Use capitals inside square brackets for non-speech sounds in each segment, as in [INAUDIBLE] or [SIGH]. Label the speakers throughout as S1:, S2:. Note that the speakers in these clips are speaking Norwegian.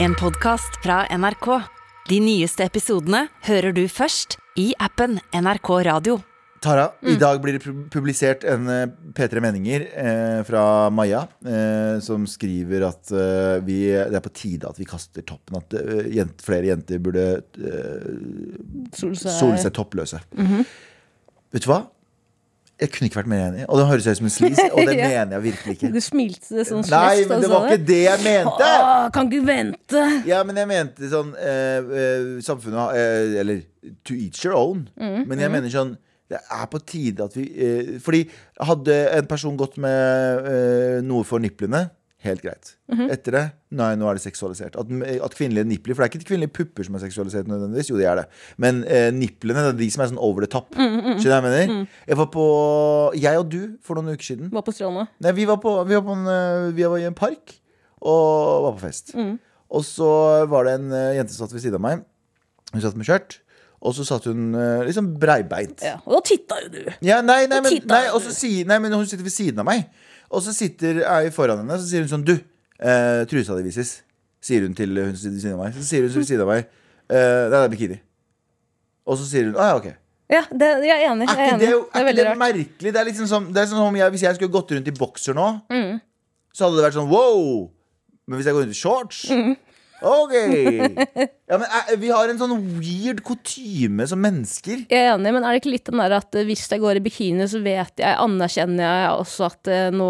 S1: En podcast fra NRK. De nyeste episodene hører du først i appen NRK Radio.
S2: Tara, i dag blir det pu- publisert en eh, P3 Meninger eh, fra Maja, eh, som skriver at eh, vi, det er på tide at vi kaster toppen. At eh, jent, flere jenter burde eh, sole seg toppløse. Vet du hva? Jeg kunne ikke vært mer enig. Og det høres ut som en sleaze, og det
S3: Ja.
S2: mener jeg virkelig
S3: Du
S2: ikke.
S3: smilte sånn
S2: Nei,
S3: slest
S2: men det var ikke det jeg mente!
S3: kan ikke vente!
S2: Ja, men jeg mente sånn eh, eh, Samfunnet har eh, Eller to each your own. Men jeg mener sånn det er på tide at vi eh, Fordi hadde en person gått med eh, noe for nipplene, helt greit. Etter det Nei, nå er det seksualisert. At, eh, at kvinnelige nipler For det er ikke kvinnelige pupper som er seksualisert nødvendigvis. Jo, det er det. Men eh, nipplene det er de som er sånn over the top. Skjønner du hva jeg mener? Jeg var på Jeg og du for noen uker siden.
S3: Var på stranda.
S2: Nei, vi var, på, vi, var på en, eh, vi var i en park og var på fest.
S3: Mm.
S2: Og så var det en eh, jente som satt ved siden av meg. Hun satt med skjørt. Og så satt hun eh, liksom breibeint.
S3: Ja. Og da titta jo du.
S2: Ja, nei, nei, men,
S3: Titta.
S2: nei, og så sier, nei, men hun sitter ved siden av meg. Og så sitter jeg foran henne, så sier hun sånn Du, eh, trusa di vises. Sier hun til hun som sitter ved siden av meg. Så sier hun ved siden av meg eh, Nei, det er bikini. Og så sier hun Å ja, OK.
S3: Ja, det, jeg er enig.
S2: Er
S3: Jeg er
S2: ikke
S3: enig.
S2: det, jo- er
S3: det er
S2: ikke
S3: veldig
S2: det
S3: rart.
S2: merkelig? Det er liksom som, det er sånn som om jeg, hvis jeg skulle gått rundt i bokser nå,
S3: Mm,
S2: så hadde det vært sånn wow! Men hvis jeg går rundt i shorts Ok! Ja, men er, vi har en sånn weird kutyme som mennesker.
S3: Jeg er enig, men er det ikke litt den der at eh, hvis jeg går i bikini, så vet jeg, anerkjenner jeg også at eh, nå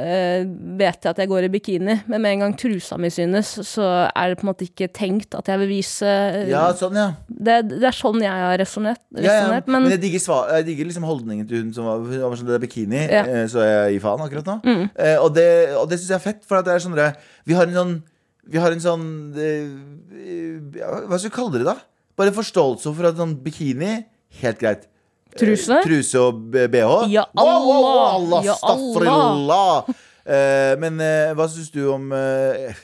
S3: eh, vet jeg at jeg går i bikini, men med en gang trusa mi synes, så er det på en måte ikke tenkt at jeg vil vise eh,
S2: Ja, sånn, ja.
S3: det, det er sånn jeg har resonnert,
S2: ja, ja.
S3: resonert
S2: Men
S3: men
S2: jeg digger, sva- jeg digger liksom holdningen til hun som var, hun var sånn Det er bikini,
S3: Ja. Mm.
S2: eh, så jeg gir faen akkurat nå. Eh, og det, og det syns jeg er fett, for at det er sånn der- Vi har en sånn Vi har en sånn eh, ja, Hva skal vi kalle det, da? Bare forståelse for at sånn bikini Helt greit.
S3: Truse?
S2: Eh, Truse og b- bh.
S3: Ja,
S2: Wow, wow, wow,
S3: Allah.
S2: Allah,
S3: Ja,
S2: staffrillah. Eh, men eh, hva syns du om eh,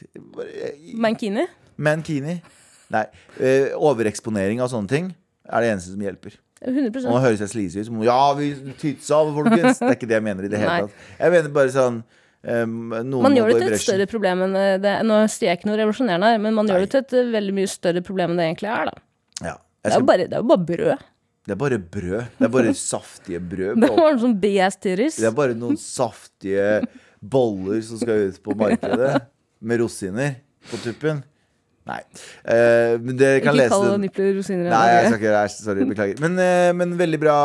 S3: mankini?
S2: mankini? Nei. eh, overeksponering av sånne ting er det eneste som hjelper.
S3: 100
S2: Og nå høres jeg sleazy ut som Ja, vi titsa av, folkens. Det er ikke det jeg mener i det hele
S3: Nei.
S2: tatt. Jeg mener bare sånn um, Noen
S3: Man
S2: må
S3: gjør
S2: gå i
S3: det til et
S2: bresjen.
S3: større problem enn eh, det Nå sier jeg ikke noe revolusjonerende her, men man
S2: Nei.
S3: gjør det til et eh, veldig mye større problem enn det egentlig er, da.
S2: Ja. Jeg
S3: Det er jo
S2: skal,
S3: bare, det er jo bare brød.
S2: det er bare brød. Det er bare saftige brød.
S3: Det
S2: på-
S3: var noe sånn BS Tyris.
S2: Det er bare noen saftige boller som skal ut på markedet. Med rosiner på tuppen. Nei. Eh, men dere kan
S3: Ikke
S2: lese
S3: kall det
S2: den.
S3: nipler rosiner.
S2: Nei, jeg
S3: eller-
S2: skal ikke gjøre det. Æsj, Sorry, beklager. Men, eh, men veldig, bra,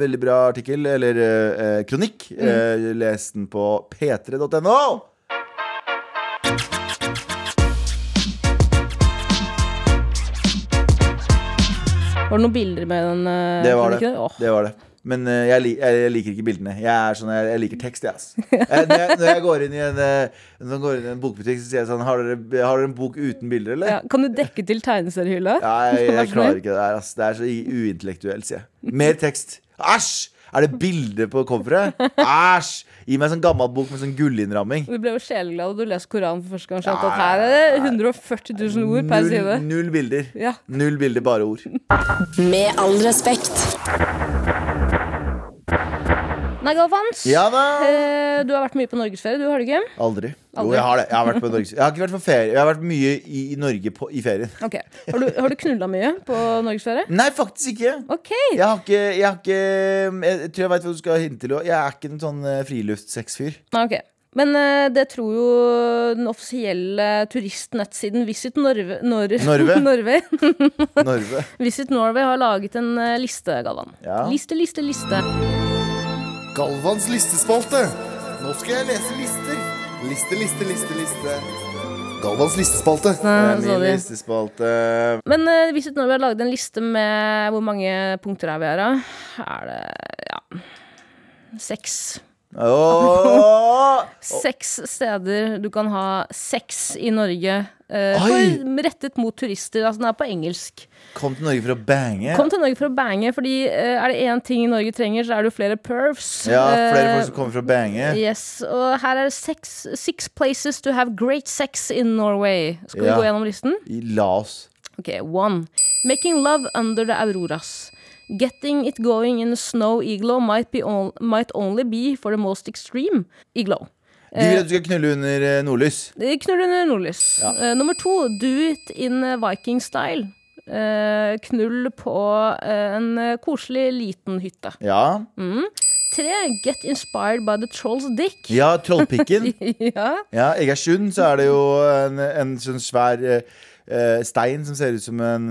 S2: veldig bra artikkel, eller eh, kronikk.
S3: Mm.
S2: Eh, les den på p3.no.
S3: Var det noen bilder med den? eh,
S2: Det var
S3: kan du
S2: det.
S3: ikke Åh,
S2: det, var det. Men eh, jeg, lik- jeg, jeg liker ikke bildene. Jeg, er sånn, jeg, jeg liker tekst, jeg. ass. Jeg, når, jeg, når jeg går inn i en, eh, når jeg går inn i en bokbutikk, så sier jeg sånn Har dere, har dere en bok uten bilder, eller?
S3: ja. Kan du dekke til tegneseriehylla?
S2: Nei,
S3: [LAUGHS]
S2: jeg,
S3: Vær
S2: jeg
S3: så
S2: klarer
S3: snill.
S2: ikke det der. ass. Det er så i- uintellektuelt, sier jeg. Mer tekst. Æsj! Er det bilde på coveret? Æsj! Gi meg en sånn gammel bok med sånn gullinnramming.
S3: Du ble jo sjeleglad da du leste Koranen for første gang. Skjønte
S2: Nei,
S3: at her er det 140 000 ord per
S2: Null,
S3: side.
S2: null bilder.
S3: Ja.
S2: Null bilder, bare ord.
S1: Med all respekt.
S3: Nei, Galvans.
S2: Ja da!
S3: eh, Du har vært mye på norgesferie, du, har du ikke?
S2: Aldri. Jo,
S3: Aldri.
S2: jeg har det. Jeg har vært på Norges. Jeg har ikke vært på ferie. Jeg har vært mye i i Norge på, i ferien.
S3: Ok. Har du, har du knulla mye på
S2: [LAUGHS]
S3: norgesferie?
S2: Nei, faktisk ikke.
S3: Ok.
S2: Jeg har ikke Jeg, har ikke, jeg tror jeg veit hva du skal hinte til. og Jeg er ikke en sånn eh, friluftsexfyr.
S3: Nei, ok. Men eh, det tror jo den offisielle turistnettsiden Visit Norve, Nor [LAUGHS]
S2: Norve?
S3: Norway.
S2: Norve.
S3: Visit Norway har laget en eh, liste, Galvan.
S2: Ja.
S3: Liste, liste, liste.
S2: [LAUGHS] Galvans listespalte. Nå skal jeg lese lister. Liste, liste, liste, liste. Galvans listespalte. Det
S3: Nei,
S2: er
S3: sa
S2: min
S3: de.
S2: listespalte.
S3: Men eh, Visit Norway har laget en liste med hvor mange punkter er vi her, da? Er det ja seks.
S2: Åh!
S3: Seks steder du kan ha sex i Norge. eh,
S2: Oi!
S3: for, rettet mot turister. Altså, den er på engelsk.
S2: Kom til Norge for å bange.
S3: Kom til Norge for å bange, fordi eh, er det én ting Norge trenger, så er det jo flere pervs.
S2: Ja, flere
S3: Eh,
S2: folk som kommer for å bange.
S3: Yes, og her er det seks six places to have great sex in Norway. Skal
S2: Ja.
S3: vi gå gjennom listen?
S2: La oss.
S3: Ok, one. Making love under the auroras. Getting it going in a snow iglo might, be on, might only be for the most extreme iglo.
S2: De vil at du skal knulle under eh, nordlys.
S3: Knull under nordlys.
S2: Ja.
S3: Eh, nummer to, do it in viking style. Eh, knull på eh, en eh, koselig, liten hytte.
S2: Ja.
S3: Tre, get inspired by the troll's dick. [LAUGHS]
S2: [LAUGHS] ja Trollpikken.
S3: ja.
S2: Ja, Egersund så er det jo en, en sånn svær eh, eh, stein som ser ut som en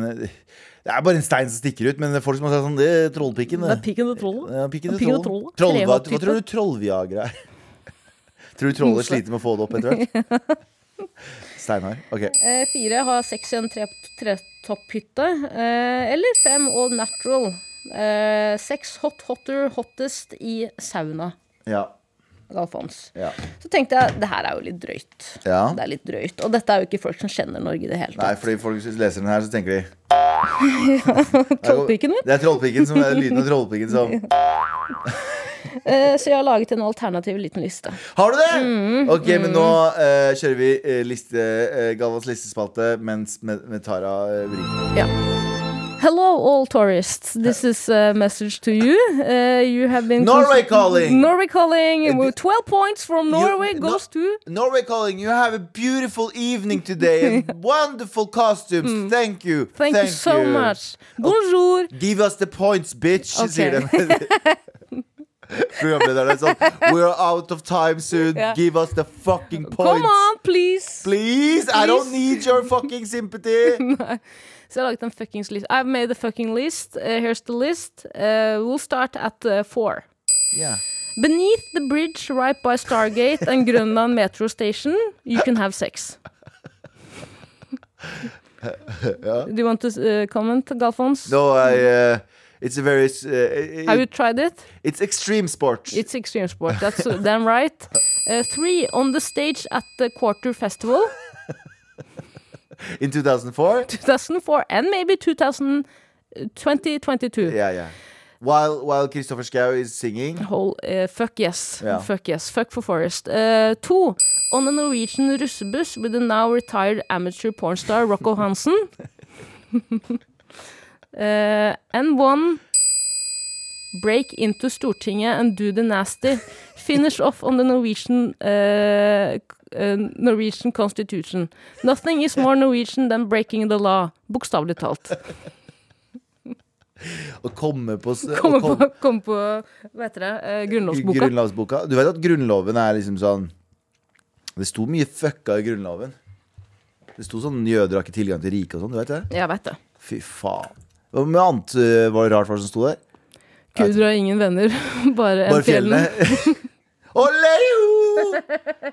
S2: Det er bare en stein som stikker ut, men det er folk som har sagt sånn Det er trollpikken.
S3: Det er
S2: Det.
S3: pikken til trollet.
S2: Ja, pikken til
S3: pikken og
S2: troll.
S3: trollet.
S2: Trollva-
S3: Trehopptype.
S2: Hva tror du trollviagra er? [LAUGHS] Tror du trollet sliter med å få det opp etter hvert?
S3: [LAUGHS]
S2: Steinar. Ok.
S3: Eh, fire, ha sex i en tre- tretopphytte. Eh, eller fem, all natural. Eh, seks, hot hotter, hottest i sauna.
S2: Ja.
S3: Galfons.
S2: ja.
S3: Så tenkte jeg, det her er jo litt drøyt.
S2: Ja.
S3: Det er litt drøyt. Og dette er jo ikke folk som kjenner Norge i det hele
S2: Nei,
S3: tatt.
S2: fordi folk hvis leser den her, så
S3: [LAUGHS]
S2: tenker de
S3: Trollpikken min.
S2: Det er trollpikken som er lyden av trollpikken som
S3: Eh, så jeg har laget en alternativ liten liste.
S2: Har du det?!
S3: Mm.
S2: ok, men nå eh, kjører vi eh, liste, eh, Galvans listespalte mens med, med Tara eh, vrir.
S3: Hello, all tourists. This is a message to you. Uh, you have been
S2: Norway calling. Eh,
S3: Norway calling. With Twelve points from Norway
S2: no-
S3: goes to
S2: Norway calling, you have a beautiful evening today
S3: [LAUGHS]
S2: and wonderful costumes. Thank you.
S3: Mm. Thank, you so much. Bonjour.
S2: Give us the points, bitch,
S3: Ok.
S2: sier
S3: [LAUGHS]
S2: de. Programlederen er sånn We're out of time soon.
S3: Ja.
S2: Give us the fucking points.
S3: Come on, please.
S2: Please, I don't
S3: Please.
S2: need your fucking sympathy.
S3: [LAUGHS] Så jeg har laget en fuckings list. I've made the fucking list. Uh, here's the list. Uh, we'll start at uh, four.
S2: yeah.
S3: Beneath the bridge right by Stargate and Grønland [LAUGHS] metro station, you can have sex. Do you want to uh, comment, Galfons?
S2: No, I. Uh, it's a very. s- Uh,
S3: Have you
S2: it,
S3: tried it?
S2: it's extreme sport.
S3: It's extreme sport. That's damn right. Uh, three on the stage at the Quarter Festival,
S2: in
S3: [LAUGHS]
S2: 2004.
S3: 2004, and maybe 2000, 2022.
S2: Yeah, yeah. While while Kristoffer Schau is singing.
S3: Whole, uh, fuck yes.
S2: Ja.
S3: Fuck yes. Fuck for Forest. Uh, two on a Norwegian russebuss with the now retired amateur porn star Rocco Hansen. uh, and one. Break into Stortinget and do the nasty. Finish off on the Norwegian uh, c- uh, Norwegian constitution. Nothing is more Norwegian than breaking the law. Bokstavelig talt.
S2: Å komme på, s- å
S3: Komme
S2: komme
S3: på, kom på hva heter det, uh, grunnlovsboka.
S2: Grunnlovsboka. Du vet at Grunnloven er liksom sånn Det sto mye fucka i Grunnloven. Det sto sånn 'jøder har ikke tilgang til riket' og sånn. Du vet det?
S3: Jeg vet det.
S2: Fy faen. Hva med annet eh, var det rart var det som sto der?
S3: Guder har ingen venner, [LAUGHS] bare en
S2: Bare fjellene.
S3: [LAUGHS] fjellene.
S2: [LAUGHS] Ole, jo!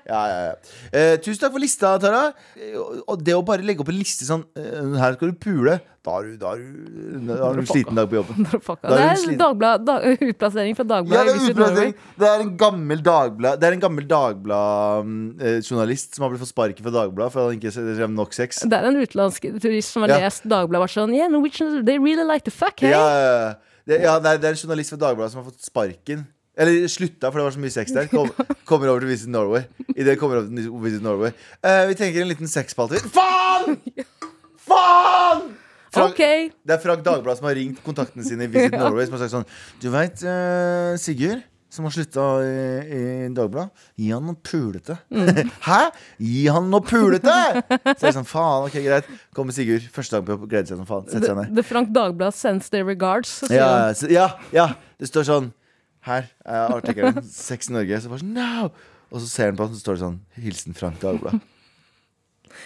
S2: Ja, ja, ja. Eh, tusen takk for lista, Tara. Eh, og- Og det å bare legge opp en liste sånn eh, Her skal du pule. Da har du, da har du, da har du en sliten dag på jobben.
S3: Fuck,
S2: Da er
S3: Det
S2: hun
S3: er
S2: sliten.
S3: Dagblad, dag, [LAUGHS] utplassering fra
S2: Ja, det,
S3: Dagbladet. i
S2: er
S3: Visit Norway.
S2: utplassering. det er en gammel Dagblad Det er en gammel Dagblad-journalist som har blitt fått sparken fra Dagbladet for han ikke drev nok sex.
S3: det er en utenlandsk turist som har
S2: Ja.
S3: lest Dagbladet og vært sånn Yeah, Norwegians, they really like to fuck, hey?
S2: Ja, ja, ja. det, ja, nei, det er en journalist fra Dagbladet som har fått sparken. Eller slutta, for det var så mye sex der. Kom, kommer over til Visit Norway. I det kommer over til Visit Norway Eh, Vi tenker en liten sexspalte. Faen! Faen! Frank-
S3: Ok,
S2: Det er Frank Dagbladet som har ringt kontaktene sine i Visit Norway. Som har sagt sånn Du veit Sigurd, som har slutta i, i Dagbladet. Gi han noe pulete. [LAUGHS] Hæ? Gi han noe pulete! Så jeg er sånn, faen, ok, greit. Kommer Sigurd første dag på jobb, gleder seg som faen. Setter seg ned.
S3: The Frank Dagblad sends their regards. Så sier
S2: Ja,
S3: han,
S2: ja, så- ja, ja. Det står sånn Her er artikkelen. Sex i Norge. Så bare sånn, no! Og så ser han på den, så står det sånn Hilsen Frank Dagbladet.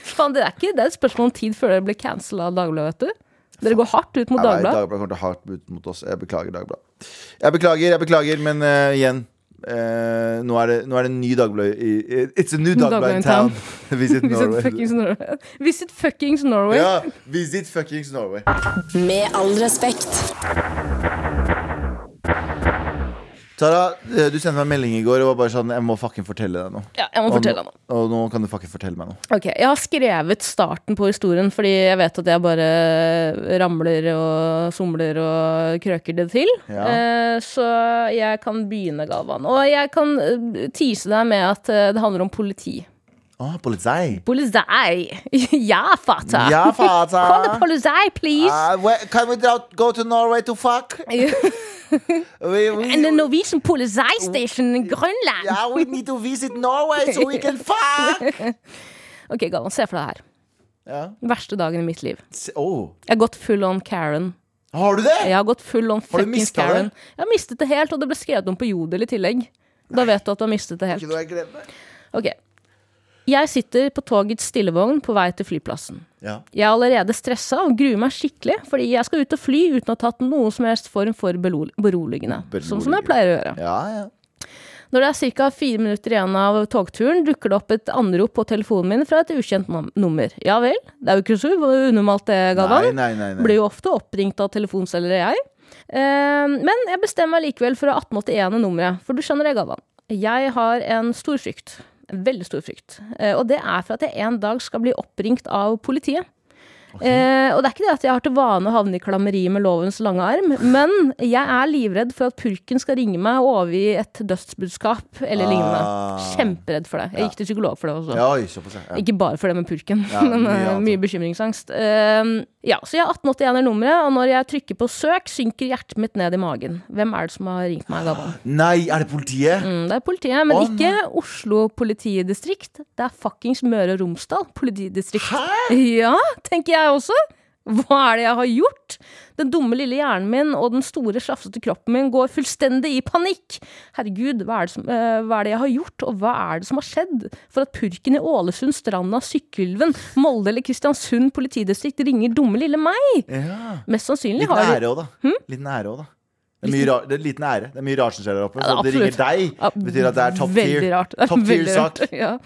S3: Faen, det er ikke det er et spørsmål om tid før dere blir cancela av Dagbladet, vet du. Dere går hardt ut mot
S2: Jeg vet,
S3: Dagbladet.
S2: Dagbladet kommer til å ha hardt ut mot oss. Jeg beklager, Dagbladet. Jeg beklager, jeg beklager, men eh, igjen. eh, nå, er det, nå er det en ny Dagblad i It's a new Dagblad in town. [LAUGHS] Visit
S3: [LAUGHS] Visit
S2: Norway.
S3: fuckings Norway. [LAUGHS] Visit fuckings Norway.
S2: Ja, visit fuckings Norway.
S1: Med all respekt.
S2: Tara, eh, du sendte meg en melding i går og var bare sånn Jeg må fucking fortelle deg noe.
S3: Ja, jeg må fortelle deg noe.
S2: Og, nå- og nå kan du fucking fortelle meg noe.
S3: Ok, Jeg har skrevet starten på historien fordi jeg vet at jeg bare eh, ramler og somler og krøker det til.
S2: Ja.
S3: Eh, så jeg kan begynne, Galvan. Og jeg kan eh, tease deg med at eh, det handler om politi.
S2: Å, politi.
S3: Politi! [LAUGHS] ja, fata!
S2: Ja,
S3: [LAUGHS]
S2: fata.
S3: Call the politi, please! [LAUGHS]
S2: Ah, where- can we dra- go to Norway to fuck? We, we,
S3: And the Norwegian Polizei Station in Grønland!
S2: yeah, we need to visit Norway so we
S3: [LAUGHS]
S2: can fuck!
S3: Ok, Galvan, se for deg det her.
S2: Ja.
S3: Verste dagen i mitt liv.
S2: Se- oh. Åh.
S3: Jeg har gått full on Karen.
S2: Har du det?
S3: Jeg har gått full on
S2: Har du
S3: fuckings
S2: mistet det?
S3: Karen. Jeg har mistet det helt, og det ble skrevet om på Jodel i tillegg. Da vet du at du har mistet det helt.
S2: Ikke noe jeg glemmer.
S3: Ok. Jeg sitter på togets stillevogn på vei til flyplassen.
S2: Ja.
S3: Jeg er allerede stressa og gruer meg skikkelig, fordi jeg skal ut og fly uten å ha tatt noen som helst form for belo- beroligende. Sånn som jeg pleier å gjøre.
S2: Ja, ja.
S3: Når det er ca. fire minutter igjen av togturen, dukker det opp et anrop på telefonen min fra et ukjent nam- nummer. Ja vel, det er jo ikke så unormalt det, Galvan.
S2: Nei, nei, nei, nei.
S3: Blir jo ofte oppringt av telefonselgere, jeg. Eh, men jeg bestemmer meg likevel for å 1881-nummeret, for du skjønner det, Galvan. Jeg har en stor frykt. En veldig stor frykt. Eh, og det er for at jeg en dag skal bli oppringt av politiet. Eh, og det er ikke det at jeg har til vane å havne i klammeri med lovens lange arm, men jeg er livredd for at purken skal ringe meg og overgi et dødsbudskap eller
S2: Ah.
S3: lignende. Kjemperedd for det. Jeg gikk til psykolog for det også.
S2: Ja, oi, såpass, ja.
S3: Ikke bare for det med purken,
S2: Ja,
S3: [LAUGHS] men
S2: mye
S3: eh,
S2: annet.
S3: mye bekymringsangst. Ehm, ja, så jeg har 1881 er nummeret, og når jeg trykker på søk, synker hjertet mitt ned i magen. Hvem er det som har ringt meg, Galvan?
S2: Nei, er det politiet?
S3: Mm, det er politiet, men
S2: Å,
S3: ikke Oslo politidistrikt. Det er fuckings Møre og Romsdal politidistrikt.
S2: Hæ?
S3: Ja, tenker jeg også. Hva er det jeg har gjort? Den dumme lille hjernen min og den store, slafsete kroppen min går fullstendig i panikk. Herregud, hva er, det som, eh, hva er det jeg har gjort, og hva er det som har skjedd? For at purken i Ålesund, Stranda, Sykkylven, Molde eller Kristiansund politidistrikt ringer dumme lille meg?
S2: Ja.
S3: Mest sannsynlig
S2: Litt
S3: har Hm? de
S2: nære òg, da. Litt nære også, da. Det er, mye rar, det er litt nære. Det er mye rart som skjer der oppe.
S3: Ja,
S2: så
S3: det er
S2: om det ringer
S3: Ja,
S2: deg, betyr at det er top
S3: veldig
S2: tier.
S3: Rart. Det er
S2: Top tier
S3: veldig
S2: sak.
S3: rart, [LAUGHS] Ja.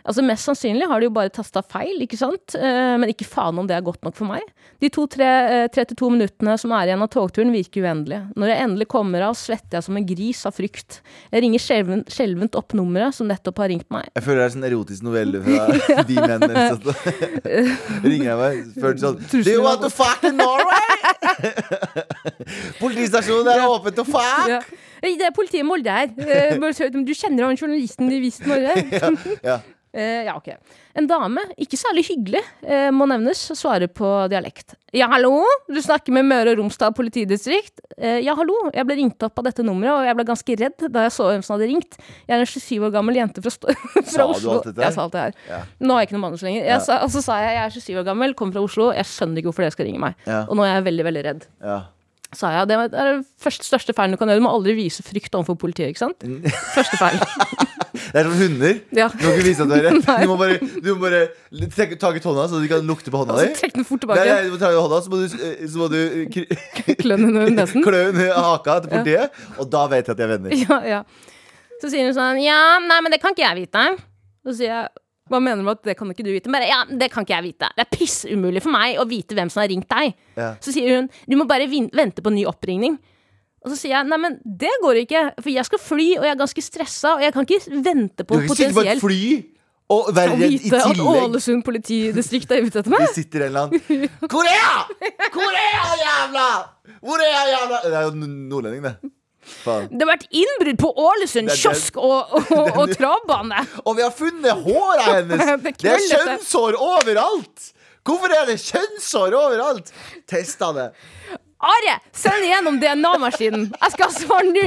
S3: Altså Mest sannsynlig har de jo bare tasta feil, ikke sant? Eh, men ikke faen om det er godt nok for meg. De to tre, eh, 32 minuttene som er igjen av togturen, virker uendelige. Når jeg endelig kommer av, svetter jeg som en gris av frykt. Jeg ringer skjelven- skjelvent opp nummeret som nettopp har ringt meg.
S2: Jeg føler det er sånn erotisk novelle fra de menn. eller sånt.
S3: [LAUGHS]
S2: ringer jeg meg før sånn Do you want to fuck in
S3: [LAUGHS]
S2: Norway? Politistasjonen er åpen to fuck!
S3: Ja. Hei, Det er politiet i Molde her.
S2: [LAUGHS]
S3: Eh, bare se om Du kjenner han journalisten i Vist Norge?
S2: Ja, ja.
S3: [LAUGHS] Eh, ja, ok. En dame, ikke særlig hyggelig, eh, må nevnes, svarer på dialekt. Ja, hallo? Du snakker med Møre og Romsdal politidistrikt? Eh, ja, hallo. Jeg ble ringt opp av dette nummeret, og jeg ble ganske redd da jeg så hvem som hadde ringt. Jeg er en 27 år gammel jente fra, Sto-
S2: Sa
S3: [LAUGHS] fra
S2: du
S3: Oslo.
S2: alt dette her?
S3: Jeg sa alt det her.
S2: Ja.
S3: Nå har jeg ikke noe manus lenger. Jeg
S2: Ja.
S3: sa, og så sa jeg jeg er 27 år gammel, kommer fra Oslo, jeg skjønner ikke hvorfor dere skal ringe meg.
S2: Ja.
S3: Og nå er jeg veldig, veldig redd.
S2: ja.
S3: Sa jeg. Det er den første største feilen du kan gjøre. Du må aldri vise frykt overfor politiet, ikke sant?
S2: Mm.
S3: [LAUGHS] Første feil.
S2: Det er som hunder.
S3: Ja.
S2: Du må ikke vise at du er
S3: [LAUGHS]
S2: redd. Du må bare, du må bare trekke tak i hånda, så de kan lukte på hånda
S3: Og så
S2: di.
S3: trekk den fort
S2: Nei,
S3: Altså, tilbake.
S2: nei, du må ta i hånda, så må du, eh, så må du
S3: [LAUGHS]
S2: kri-
S3: Klønn under nesen.
S2: klø under haka til politiet, og da vet jeg at de er venner.
S3: [LAUGHS] Ja, ja. Så sier hun sånn Ja, nei, men det kan ikke jeg vite. Så sier jeg Hva mener du med at det kan ikke du vite? Bare, ja, det kan ikke jeg vite. Det er pissumulig for meg å vite hvem som har ringt deg.
S2: Ja.
S3: Så sier hun Du må bare vin- vente på ny oppringning. Og så sier jeg nei, men det går ikke, for jeg skal fly, og jeg er ganske stressa, og jeg kan ikke vente
S2: Du
S3: på
S2: kan ikke sitte på et
S3: potensielt
S2: fly og være
S3: å
S2: redd i
S3: vite at
S2: tillegg.
S3: Ålesund politidistrikt er ute etter [LAUGHS] meg.
S2: Det sitter en eller annen Korea! Korea, jævla! Hvor er jeg, jævla? Det er jo n- nordlending, det. Faen.
S3: Det har vært innbrudd på Ålesund
S2: Det er den-
S3: kiosk og, og, og, og travbane.
S2: Og vi har funnet håret hennes!
S3: Det er
S2: Det er
S3: krøllete.
S2: kjønnshår overalt! Hvorfor er det kjønnshår overalt? Testa det.
S3: Are, send igjennom DNA-maskinen. Jeg skal ha svar nå.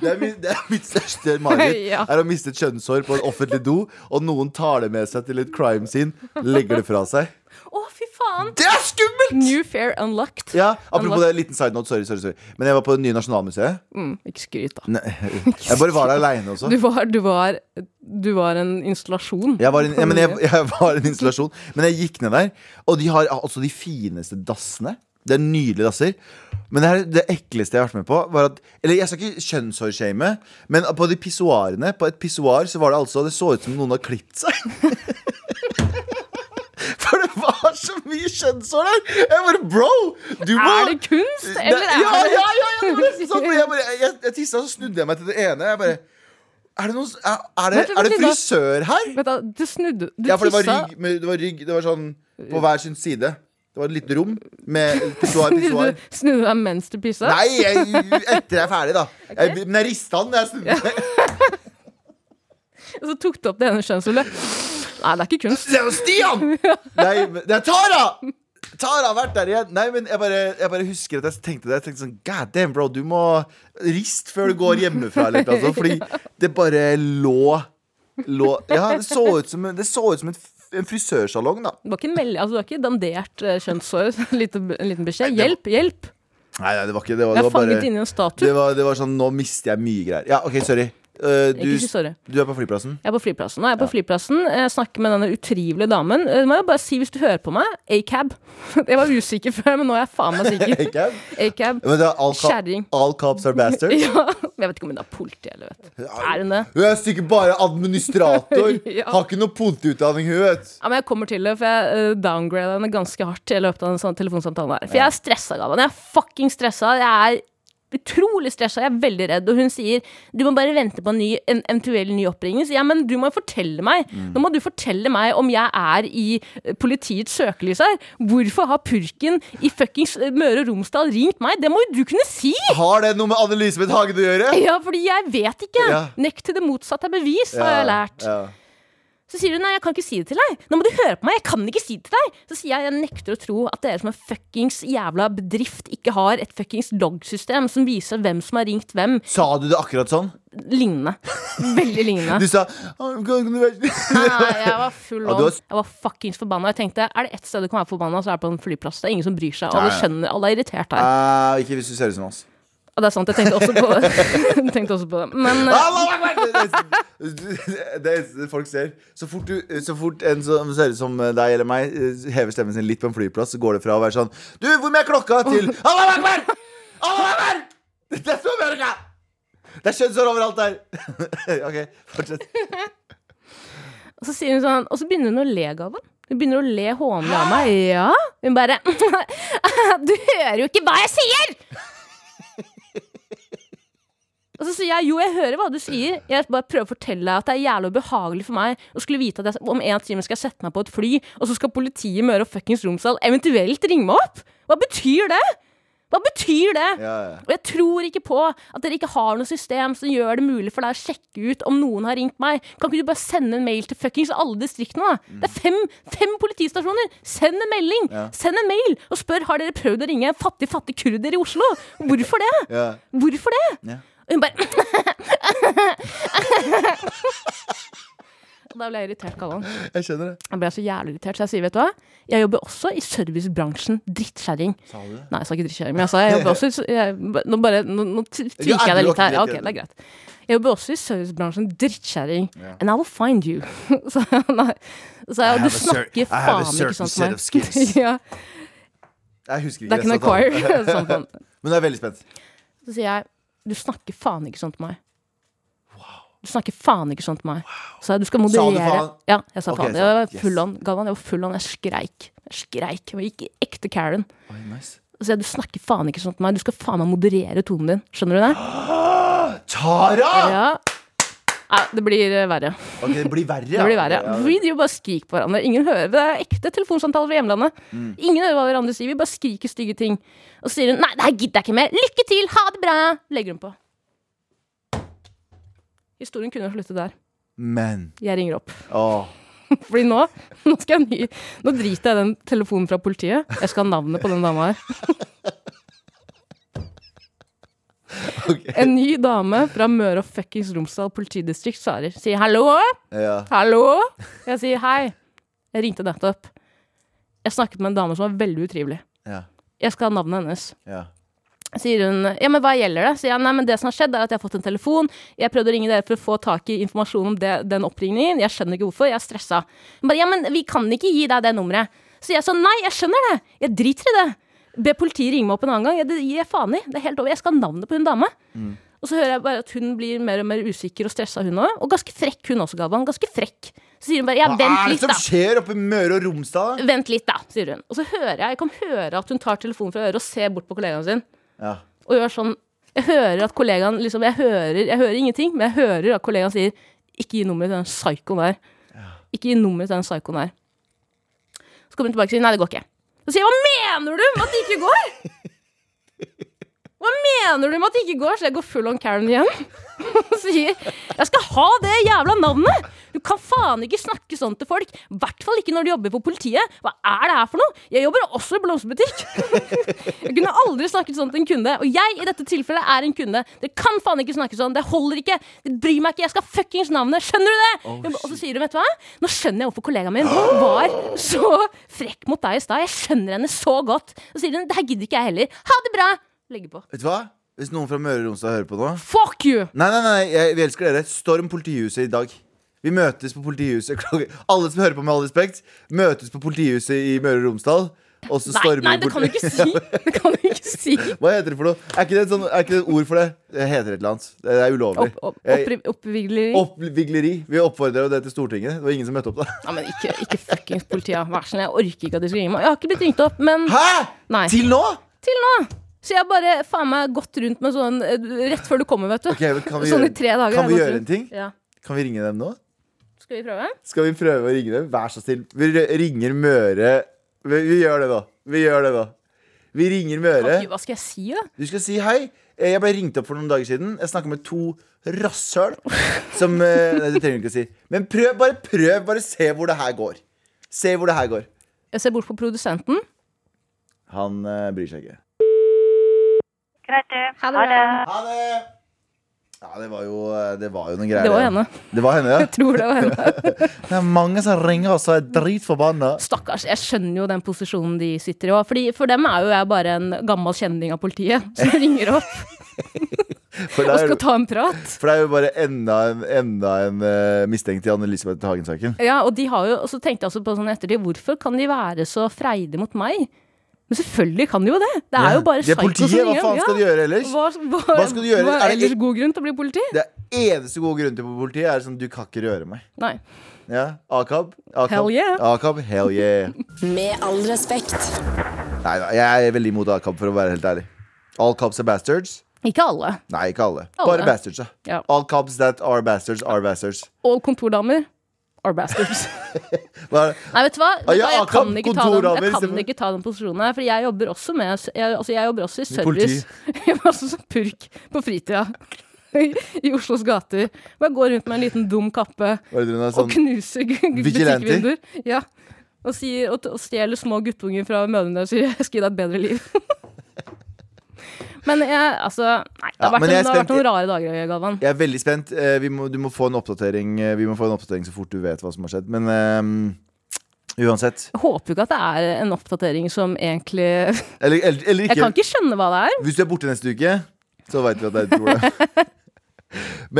S2: Det er, min, det er mitt største mareritt.
S3: Ja.
S2: Er å miste et kjønnshår på en offentlig do, og noen tar det med seg til et crime scene, legger det fra seg.
S3: Å, fy faen.
S2: Det er skummelt!
S3: New Fair Unlocked.
S2: Ja, Apropos det, liten side note. Sorry, sorry, sorry. Men jeg var på det nye Nasjonalmuseet.
S3: Mm, ikke skryt, da.
S2: Nei, Jeg bare var der aleine også.
S3: Du var, du, var, du var en installasjon.
S2: Jeg var, en, ja, men jeg, jeg var en installasjon. Men jeg gikk ned der, og de har altså de fineste dassene. Det er nydelige dasser. Men det, her, det ekleste jeg har vært med på, var at Eller jeg skal ikke kjønnshårshame, men på de pissoarene På et pissoar så var det altså Det så ut som noen har klippet seg. [LAUGHS] For det var så mye kjønnshår der! Jeg bare Bro! Du må
S3: Er det kunst, eller
S2: Nei,
S3: er
S2: ja,
S3: det-
S2: ja, ja, ja, det var nesten sånn! fordi Jeg, bare- jeg, jeg tissa, så snudde jeg meg til det ene. Jeg bare Er det, noen, s- er, er det,
S3: Vent litt,
S2: er det
S3: vent litt, da.
S2: frisør her?
S3: Vet du, du snudde Du
S2: Ja, for det var
S3: tissa.
S2: rygg, men det var, rygg, det var sånn på hver sin side. Det var et lite rom med
S3: [LAUGHS]
S2: pissoar, pissoar.
S3: Du snudde deg mens du pissa?
S2: Nei, jeg, etter jeg er ferdig, da. Jeg, men jeg rista den. Jeg sånn- [LAUGHS] snudde meg.
S3: Og så tok du opp det ene kjønnshullet? Nei, det er ikke kunst. [LAUGHS]
S2: Det er jo Stian! Nei, men- det er Tara! Tara har vært der igjen! Nei, men jeg bare, jeg bare husker at jeg tenkte det. Jeg tenkte sånn, God damn, bro, du må rist før du går hjemmefra. Eller, noe sånt,
S3: [LAUGHS]
S2: fordi det bare lå, lå Ja, det så ut som, det så ut som en, f- en frisørsalong, da.
S3: Det var ikke en meld altså, du har ikke dandert eh, kjønnshår. [LAUGHS] Lite, en liten beskjed. Hjelp, hjelp!
S2: Nei, nei, det var ikke det. Var,
S3: Jeg
S2: det
S3: er
S2: var
S3: fanget
S2: bare
S3: inni en statue.
S2: det var, det var sånn Nå mister jeg mye greier. Ja, OK, sorry. Eh,
S3: Ikke si
S2: du,
S3: sorry.
S2: du er på flyplassen?
S3: Jeg er på flyplassen. Nå er jeg på flyplassen. Jeg snakker med denne utrivelige damen. Eh, Må jeg bare si, hvis du hører på meg, acab. [LAUGHS] Jeg var usikker før, men nå er jeg faen meg
S2: [LAUGHS]
S3: sikker.
S2: Ikke?
S3: Acab.
S2: Men det er all, ka-
S3: Kjerring.
S2: all cops are
S3: [LAUGHS]
S2: bastards?
S3: Ja. Jeg vet ikke om hun er politi, eller vet du. Er hun det?
S2: Hun er sikkert bare administrator.
S3: [LAUGHS] Ja.
S2: Har ikke noe politiutdanning, hun, vet
S3: Ja, men jeg kommer til det, for jeg uh, downgrader henne ganske hardt i løpet av den sånne telefonsamtalen her. For jeg er stressa, Galvan. Jeg er fucking stressa. Jeg er utrolig stressa. Jeg er veldig redd. Og hun sier du må bare vente på en, ny, en eventuell ny oppringning. Så, ja, men du må jo fortelle meg.
S2: Mm.
S3: Nå må du fortelle meg om jeg er i eh, politiets søkelys her. Hvorfor har purken i fuckings eh, Møre og Romsdal ringt meg? Det må jo du kunne si!
S2: Har det noe med Anne-Elisabeth Hagen å gjøre?
S3: Ja, fordi jeg vet ikke.
S2: Ja.
S3: Nekt til [LAUGHS] det motsatte er bevis, har jeg lært.
S2: Ja.
S3: Så sier hun nei, jeg kan ikke si det til deg. Nå må du høre på meg, jeg kan ikke si det til deg. Så sier jeg jeg nekter å tro at dere som en fuckings jævla bedrift ikke har et fuckings loggsystem som viser hvem som har ringt hvem.
S2: Sa du det akkurat sånn?
S3: Lignende. Veldig lignende.
S2: Du sa «Å, kan [LAUGHS] du
S3: [LAUGHS]
S2: være-»
S3: Nei, jeg var full
S2: Ja,
S3: on.
S2: du har-
S3: Jeg var fuckings forbanna. Jeg tenkte er det ett sted du kan være forbanna, så er det på en flyplass. Det er ingen som bryr seg. Alle
S2: Nei.
S3: skjønner, alle er irritert her.
S2: Eh, Ikke hvis du ser ut som oss.
S3: Ja, det [LAUGHS] er sant, jeg tenkte også på, jeg tenkte også på det. Men eh,
S2: Allahu Akbar! Det det- det er det folk ser. Så fort, du, så fort en som ser ut som deg eller meg, eh, hever stemmen sin litt på en flyplass, så går det fra å være sånn Du, hvor mye er klokka? til Allahu Akbar! Allahu Akbar! Det er Sør-Amerika! Det er kjønnshår overalt der. [LAUGHS] OK, fortsett.
S3: Og så sier hun sånn Og så begynner hun å le, Galvan. Hun begynner å le hånlig av meg. Ja. Hun bare [LAUGHS] Du hører jo ikke hva jeg sier! Og så sier jeg jo, jeg hører hva du sier. Jeg bare prøver å fortelle deg at det er jævlig ubehagelig for meg å skulle vite at jeg om en time skal sette meg på et fly, og så skal politiet i Møre og fuckings Romsdal eventuelt ringe meg opp! Hva betyr det?! Hva betyr det?!
S2: Ja, ja.
S3: Og jeg tror ikke på at dere ikke har noe system som gjør det mulig for deg å sjekke ut om noen har ringt meg. Kan ikke du bare sende en mail til fuckings alle distriktene, da? Det er fem, fem politistasjoner! Send en melding!
S2: Ja.
S3: Send en mail! Og spør har dere prøvd å ringe en fattig, fattig kurder i Oslo. Hvorfor det?
S2: ja.
S3: Hvorfor det?
S2: Ja.
S3: Og hun bare [LAUGHS] Og Da ble jeg irritert, Galvan.
S2: Jeg skjønner det.
S3: Jeg ble så jævlig irritert, så jeg sier, vet du hva? Jeg jobber også i servicebransjen. Drittkjerring.
S2: Sa du det?
S3: Nei, jeg sa ikke drittkjerring, men jeg sa jeg jobber også i jeg, Nå bare, nå, nå t-
S2: Ja,
S3: tviker jeg deg
S2: du
S3: litt her.
S2: har
S3: Ja,
S2: ikke rett i
S3: ok, det er greit. Jeg jobber også i servicebransjen, drittkjerring. And I will find you. [LAUGHS] Så, nei, så jeg, og
S2: have
S3: du
S2: a cer- I
S3: snakker
S2: have a
S3: faen ikke
S2: certain
S3: sånn
S2: set
S3: som
S2: of skills.
S3: meg. [LAUGHS] ja,
S2: Jeg husker ikke
S3: det er ikke
S2: resten
S3: noe
S2: av talen.
S3: choir. sånn, sånn.
S2: Men jeg er veldig spent.
S3: Så sier jeg, du snakker faen ikke sånn til meg. Du snakker faen ikke sånn til meg. Så jeg, du skal
S2: Sa du
S3: moderere.
S2: faen?
S3: Ja, jeg sa
S2: Ok,
S3: faen.
S2: så-
S3: Jeg var
S2: yes.
S3: full on. Galvan, jeg var full on. Jeg skreik. Jeg skreik. Jeg gikk i ekte Karen.
S2: Oi, nice.
S3: Så sier jeg, du snakker faen ikke sånn til meg. Du skal faen meg moderere tonen din. Skjønner du det?
S2: Tara!
S3: Ja. Nei, det blir eh, verre.
S2: Ok, det blir verre.
S3: Det
S2: ja.
S3: blir verre.
S2: Ja, ja.
S3: Vi driver bare og skriker på hverandre. Ingen hører. Det er ekte telefonsamtaler fra hjemlandet.
S2: Mm.
S3: Ingen hører hva hverandre sier. Vi bare skriker stygge ting. Og så sier hun 'nei, det her gidder jeg ikke mer'. 'Lykke til, ha det bra', legger hun på. Historien kunne slutte der.
S2: Men
S3: Jeg ringer opp.
S2: Åh.
S3: Fordi nå, [LAUGHS] nå skal jeg ny... Nå driter jeg i den telefonen fra politiet. Jeg skal ha navnet på den dama her.
S2: Ok.
S3: En ny dame fra Møre og fuckings Romsdal politidistrikt svarer. Sier 'hallo'.
S2: Ja.
S3: Hallo? Jeg sier hei. Jeg ringte nettopp. Jeg snakket med en dame som var veldig utrivelig.
S2: Ja.
S3: Jeg skal ha navnet hennes.
S2: Ja.
S3: Sier hun ja, men hva gjelder det? Sier jeg nei, men det som har skjedd, er at jeg har fått en telefon. Jeg prøvde å ringe dere for å få tak i informasjon om det, den oppringningen. Jeg skjønner ikke hvorfor. Jeg er stressa. Hun bare ja, men vi kan ikke gi deg det nummeret. Så jeg sa nei, jeg skjønner det. Jeg driter i det. Be politiet ringe meg opp en annen gang. Jeg, det gir jeg faen i. Det er helt over. Jeg skal ha navnet på hun dame.
S2: Mm.
S3: Og så hører jeg bare at hun blir mer og mer usikker og stressa, hun òg. Og ganske frekk hun også, Galvan. Ganske frekk. Så sier hun bare ja,
S2: Hva
S3: vent
S2: er det
S3: litt,
S2: som
S3: da.
S2: skjer oppe i Møre og Romsdal? da?
S3: Vent litt, da, sier hun. Og så hører jeg, jeg kan høre at hun tar telefonen fra øret og ser bort på kollegaen sin.
S2: Ja.
S3: Og gjør sånn Jeg hører at kollegaen liksom Jeg hører, jeg hører ingenting, men jeg hører at kollegaen sier Ikke gi nummeret til den psykoen der. Ikke gi nummeret til den psykoen der. Så kommer hun tilbake og sier nei, det går ikke. Så sier jeg hva mener du med at det ikke går? Hva mener du med at det ikke går? Så jeg går full on Karen igjen. Og sier jeg skal ha det jævla navnet! Du kan faen ikke snakke sånn til folk. I hvert fall ikke når de jobber for politiet. Hva er det her for noe? Jeg jobber også i blomsterbutikk. Jeg kunne aldri snakket sånn til en kunde. Og jeg i dette tilfellet er en kunde. Dere kan faen ikke snakke sånn. Det holder ikke. Det bryr meg ikke. Jeg skal fuckings navnet. Skjønner du det? og så sier hun, vet du hva? Nå skjønner jeg hvorfor kollegaen min var så frekk mot deg i stad. Jeg skjønner henne så godt. Og så sier hun, det her gidder ikke jeg heller. Ha det bra. Legger på.
S2: Vet du hva? Hvis noen fra Møre og Romsdal hører på nå
S3: Fuck you!
S2: Nei, nei, nei, jeg, vi elsker dere. Storm politihuset i dag. Vi møtes på politihuset [LAUGHS] klokka Alle som hører på, med all respekt, møtes på politihuset i Møre og Romsdal. Og så
S3: Nei,
S2: stormer
S3: nei,
S2: vi
S3: det
S2: politi-
S3: kan du ikke si. Det kan du ikke si.
S2: Hva heter det for noe? Er ikke det et, sånn, er ikke det et ord for det? Det heter et eller annet. Det er ulovlig.
S3: Opp, opp,
S2: Eh,
S3: oppri- oppvigleri.
S2: Oppvigleri. Vi oppfordrer jo det til Stortinget. Det var ingen som møtte opp da.
S3: Ja, men ikke, ikke fuckings politiet. Vær så snill, jeg orker ikke at de skal ringe meg. Jeg har ikke blitt ringt opp, men
S2: Hæ?!
S3: Nei.
S2: Til nå?!
S3: til nå. Så jeg har bare faen meg gått rundt med sånn eh, rett før du kommer, vet du.
S2: Ok, men kan vi
S3: sånn
S2: gjøre-
S3: i tre dager.
S2: kan
S3: har
S2: vi
S3: jeg gått
S2: gjøre
S3: rundt.
S2: en ting?
S3: Ja.
S2: Kan vi ringe dem nå?
S3: Skal vi prøve?
S2: Skal vi prøve å ringe dem? Vær så snill. Vi r- ringer Møre vi, vi gjør det nå. Vi gjør det nå. Vi ringer Møre.
S3: Hva skal jeg si, da?
S2: Du skal si hei. Eh, Jeg ble ringt opp for noen dager siden. Jeg snakka med to rasshøl som eh, Nei, det trenger du ikke å si. Men prøv, bare prøv. Bare se hvor det her går. Se hvor det her går.
S3: Jeg ser bort på produsenten.
S2: Han eh, bryr seg ikke.
S4: Greit, du.
S3: Ha det bra.
S2: Ha det! Ja, det var jo, eh, det var jo noen greier.
S3: Det var
S2: ja.
S3: henne.
S2: Det var henne, ja.
S3: Jeg tror det var henne. [LAUGHS]
S2: Det er mange som ringer oss og er dritforbanna.
S3: Stakkars. Jeg skjønner jo den posisjonen de sitter i. også, Fordi for dem er jo jeg bare en gammel kjenning av politiet [LAUGHS] som ringer opp
S2: For
S3: og
S2: det er,
S3: skal ta en prat.
S2: for det er jo bare enda en, enda en eh, mistenkt i Anne-Elisabeth Hagen-saken.
S3: Ja, og de har jo, og så tenkte jeg også på sånn ettertid, hvorfor kan de være så freidige mot meg? Men selvfølgelig kan de jo det! Det er jo bare
S2: Det er
S3: psycho
S2: politiet.
S3: som
S2: Hva
S3: ringer.
S2: faen skal de gjøre ellers?
S3: Hva, hva,
S2: Hva skal du gjøre?
S3: Hva
S2: Er
S3: er
S2: det-
S3: ellers god grunn til å bli politi?
S2: Det eneste gode grunnen til å bli politiet er sånn du kan ikke røre meg.
S3: Nei.
S2: Ja, Akab. Akab.
S3: Hell yeah.
S2: Akab, hell yeah.
S1: Med all respekt.
S2: Nei, nei, jeg er veldig imot Akab, for å være helt ærlig. All cops are bastards.
S3: Ikke alle.
S2: Nei, ikke alle.
S3: Alle.
S2: Bare bastards, da.
S3: Ja.
S2: All cops that are bastards, are bastards.
S3: Og kontordamer are bastards.
S2: Hva er det?
S3: [LAUGHS] Nei, vet du hva? Vet du hva?
S2: Ah, ja,
S3: Jeg,
S2: akkurat.
S3: kan ikke ta den,
S2: Kontordamer,
S3: jeg kan
S2: selvfølgelig.
S3: ikke ta den posisjonen her, for jeg jobber også med jeg, altså jeg jobber også i service. [LAUGHS]
S2: politi.
S3: Jeg jobber også som purk på fritida. [LAUGHS] I Oslos gater. Hvor jeg går rundt med en liten dum kappe
S2: Hva er det hun er
S3: og
S2: sånn?
S3: knuser g- g-
S2: Vigilante?
S3: butikkvinduer. Ja. Og, sier, og, t- og stjeler små guttunger fra mødrene og sier [LAUGHS] 'jeg skal gi deg et bedre liv'. Men jeg, altså Nei, det
S2: Ja,
S3: har vært,
S2: men
S3: en,
S2: jeg
S3: det har vært
S2: spent-
S3: noen rare dager, Galvan.
S2: Jeg er veldig spent. Eh, Vi må, du må få en oppdatering eh, Vi må få en oppdatering så fort du vet hva som har skjedd. Men eh, uansett.
S3: Jeg håper jo ikke at det er en oppdatering som
S2: [LAUGHS]
S3: egentlig Jeg
S2: Eller, eller, eller ikke.
S3: kan ikke skjønne hva det er.
S2: Hvis du er borte neste uke, så veit vi at det er et problem.
S3: [LAUGHS]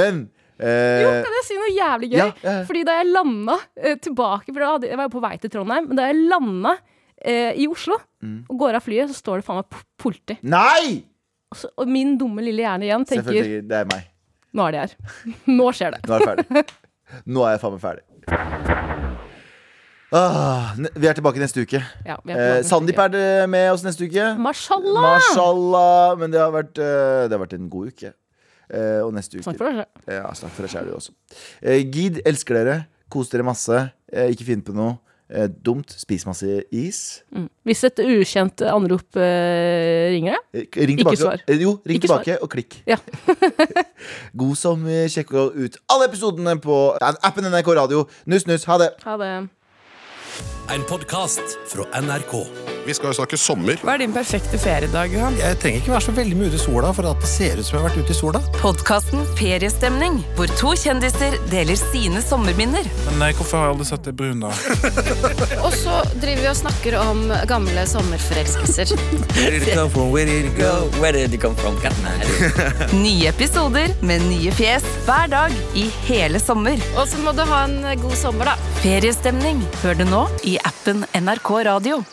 S2: Men eh,
S3: Jo, kan jeg si noe jævlig gøy?
S2: Ja, ja, ja.
S3: Fordi da jeg landa eh, tilbake For da hadde, jeg var jo på vei til Trondheim, men da jeg landa eh, i Oslo
S2: Mm.
S3: og går av flyet, så står det faen meg po- politi.
S2: Nei!
S3: Og, så, og min dumme lille hjerne igjen tenker
S2: Selvfølgelig. Det er meg.
S3: nå er de her. [LAUGHS] Nå skjer det.
S2: Nå er det ferdig.
S3: [LAUGHS]
S2: Nå er jeg faen meg ferdig. Ah, ne- vi er tilbake neste uke.
S3: Ja, vi er på vei
S2: Eh,
S3: neste
S2: Sandeep
S3: uke.
S2: er det med oss neste uke.
S3: Mashallah!
S2: Mashallah. Men det har vært, eh, det har vært en god uke. Eh, og neste uke
S3: Snakk for deg selv.
S2: Ja, snakk for deg sjæl, du også. Eh, Gid, elsker dere. Kos dere masse. Eh, ikke finn på noe eh, dumt. Spis masse is.
S3: Hvis et ukjent anrop eh, ringer deg,
S2: Eh, Ring
S3: Ikke
S2: tilbake.
S3: svar.
S2: Eh, Jo, ring
S3: Ikke
S2: tilbake og klikk.
S3: [LAUGHS] Ja.
S2: [LAUGHS] God sommer. Sjekk ut alle episodene på appen NRK Radio. Nuss, nuss. Ha det.
S3: ha det.
S5: En podcast fra NRK.
S6: Vi skal jo snakke sommer.
S7: Hva er din perfekte feriedag, Johan?
S8: Jeg trenger ikke være så veldig mye ute i sola for at det ser ut som jeg har vært ute i sola.
S9: Podkasten Feriestemning, hvor to kjendiser deler sine sommerminner.
S10: Nei, eh, hvorfor har jeg aldri sett deg brun, da?
S11: Og så driver vi og snakker om gamle sommerforelskelser.
S9: Nye episoder med nye fjes hver dag i hele sommer.
S11: Og så må du ha en god sommer, da.
S9: Feriestemning hør du nå i appen NRK Radio.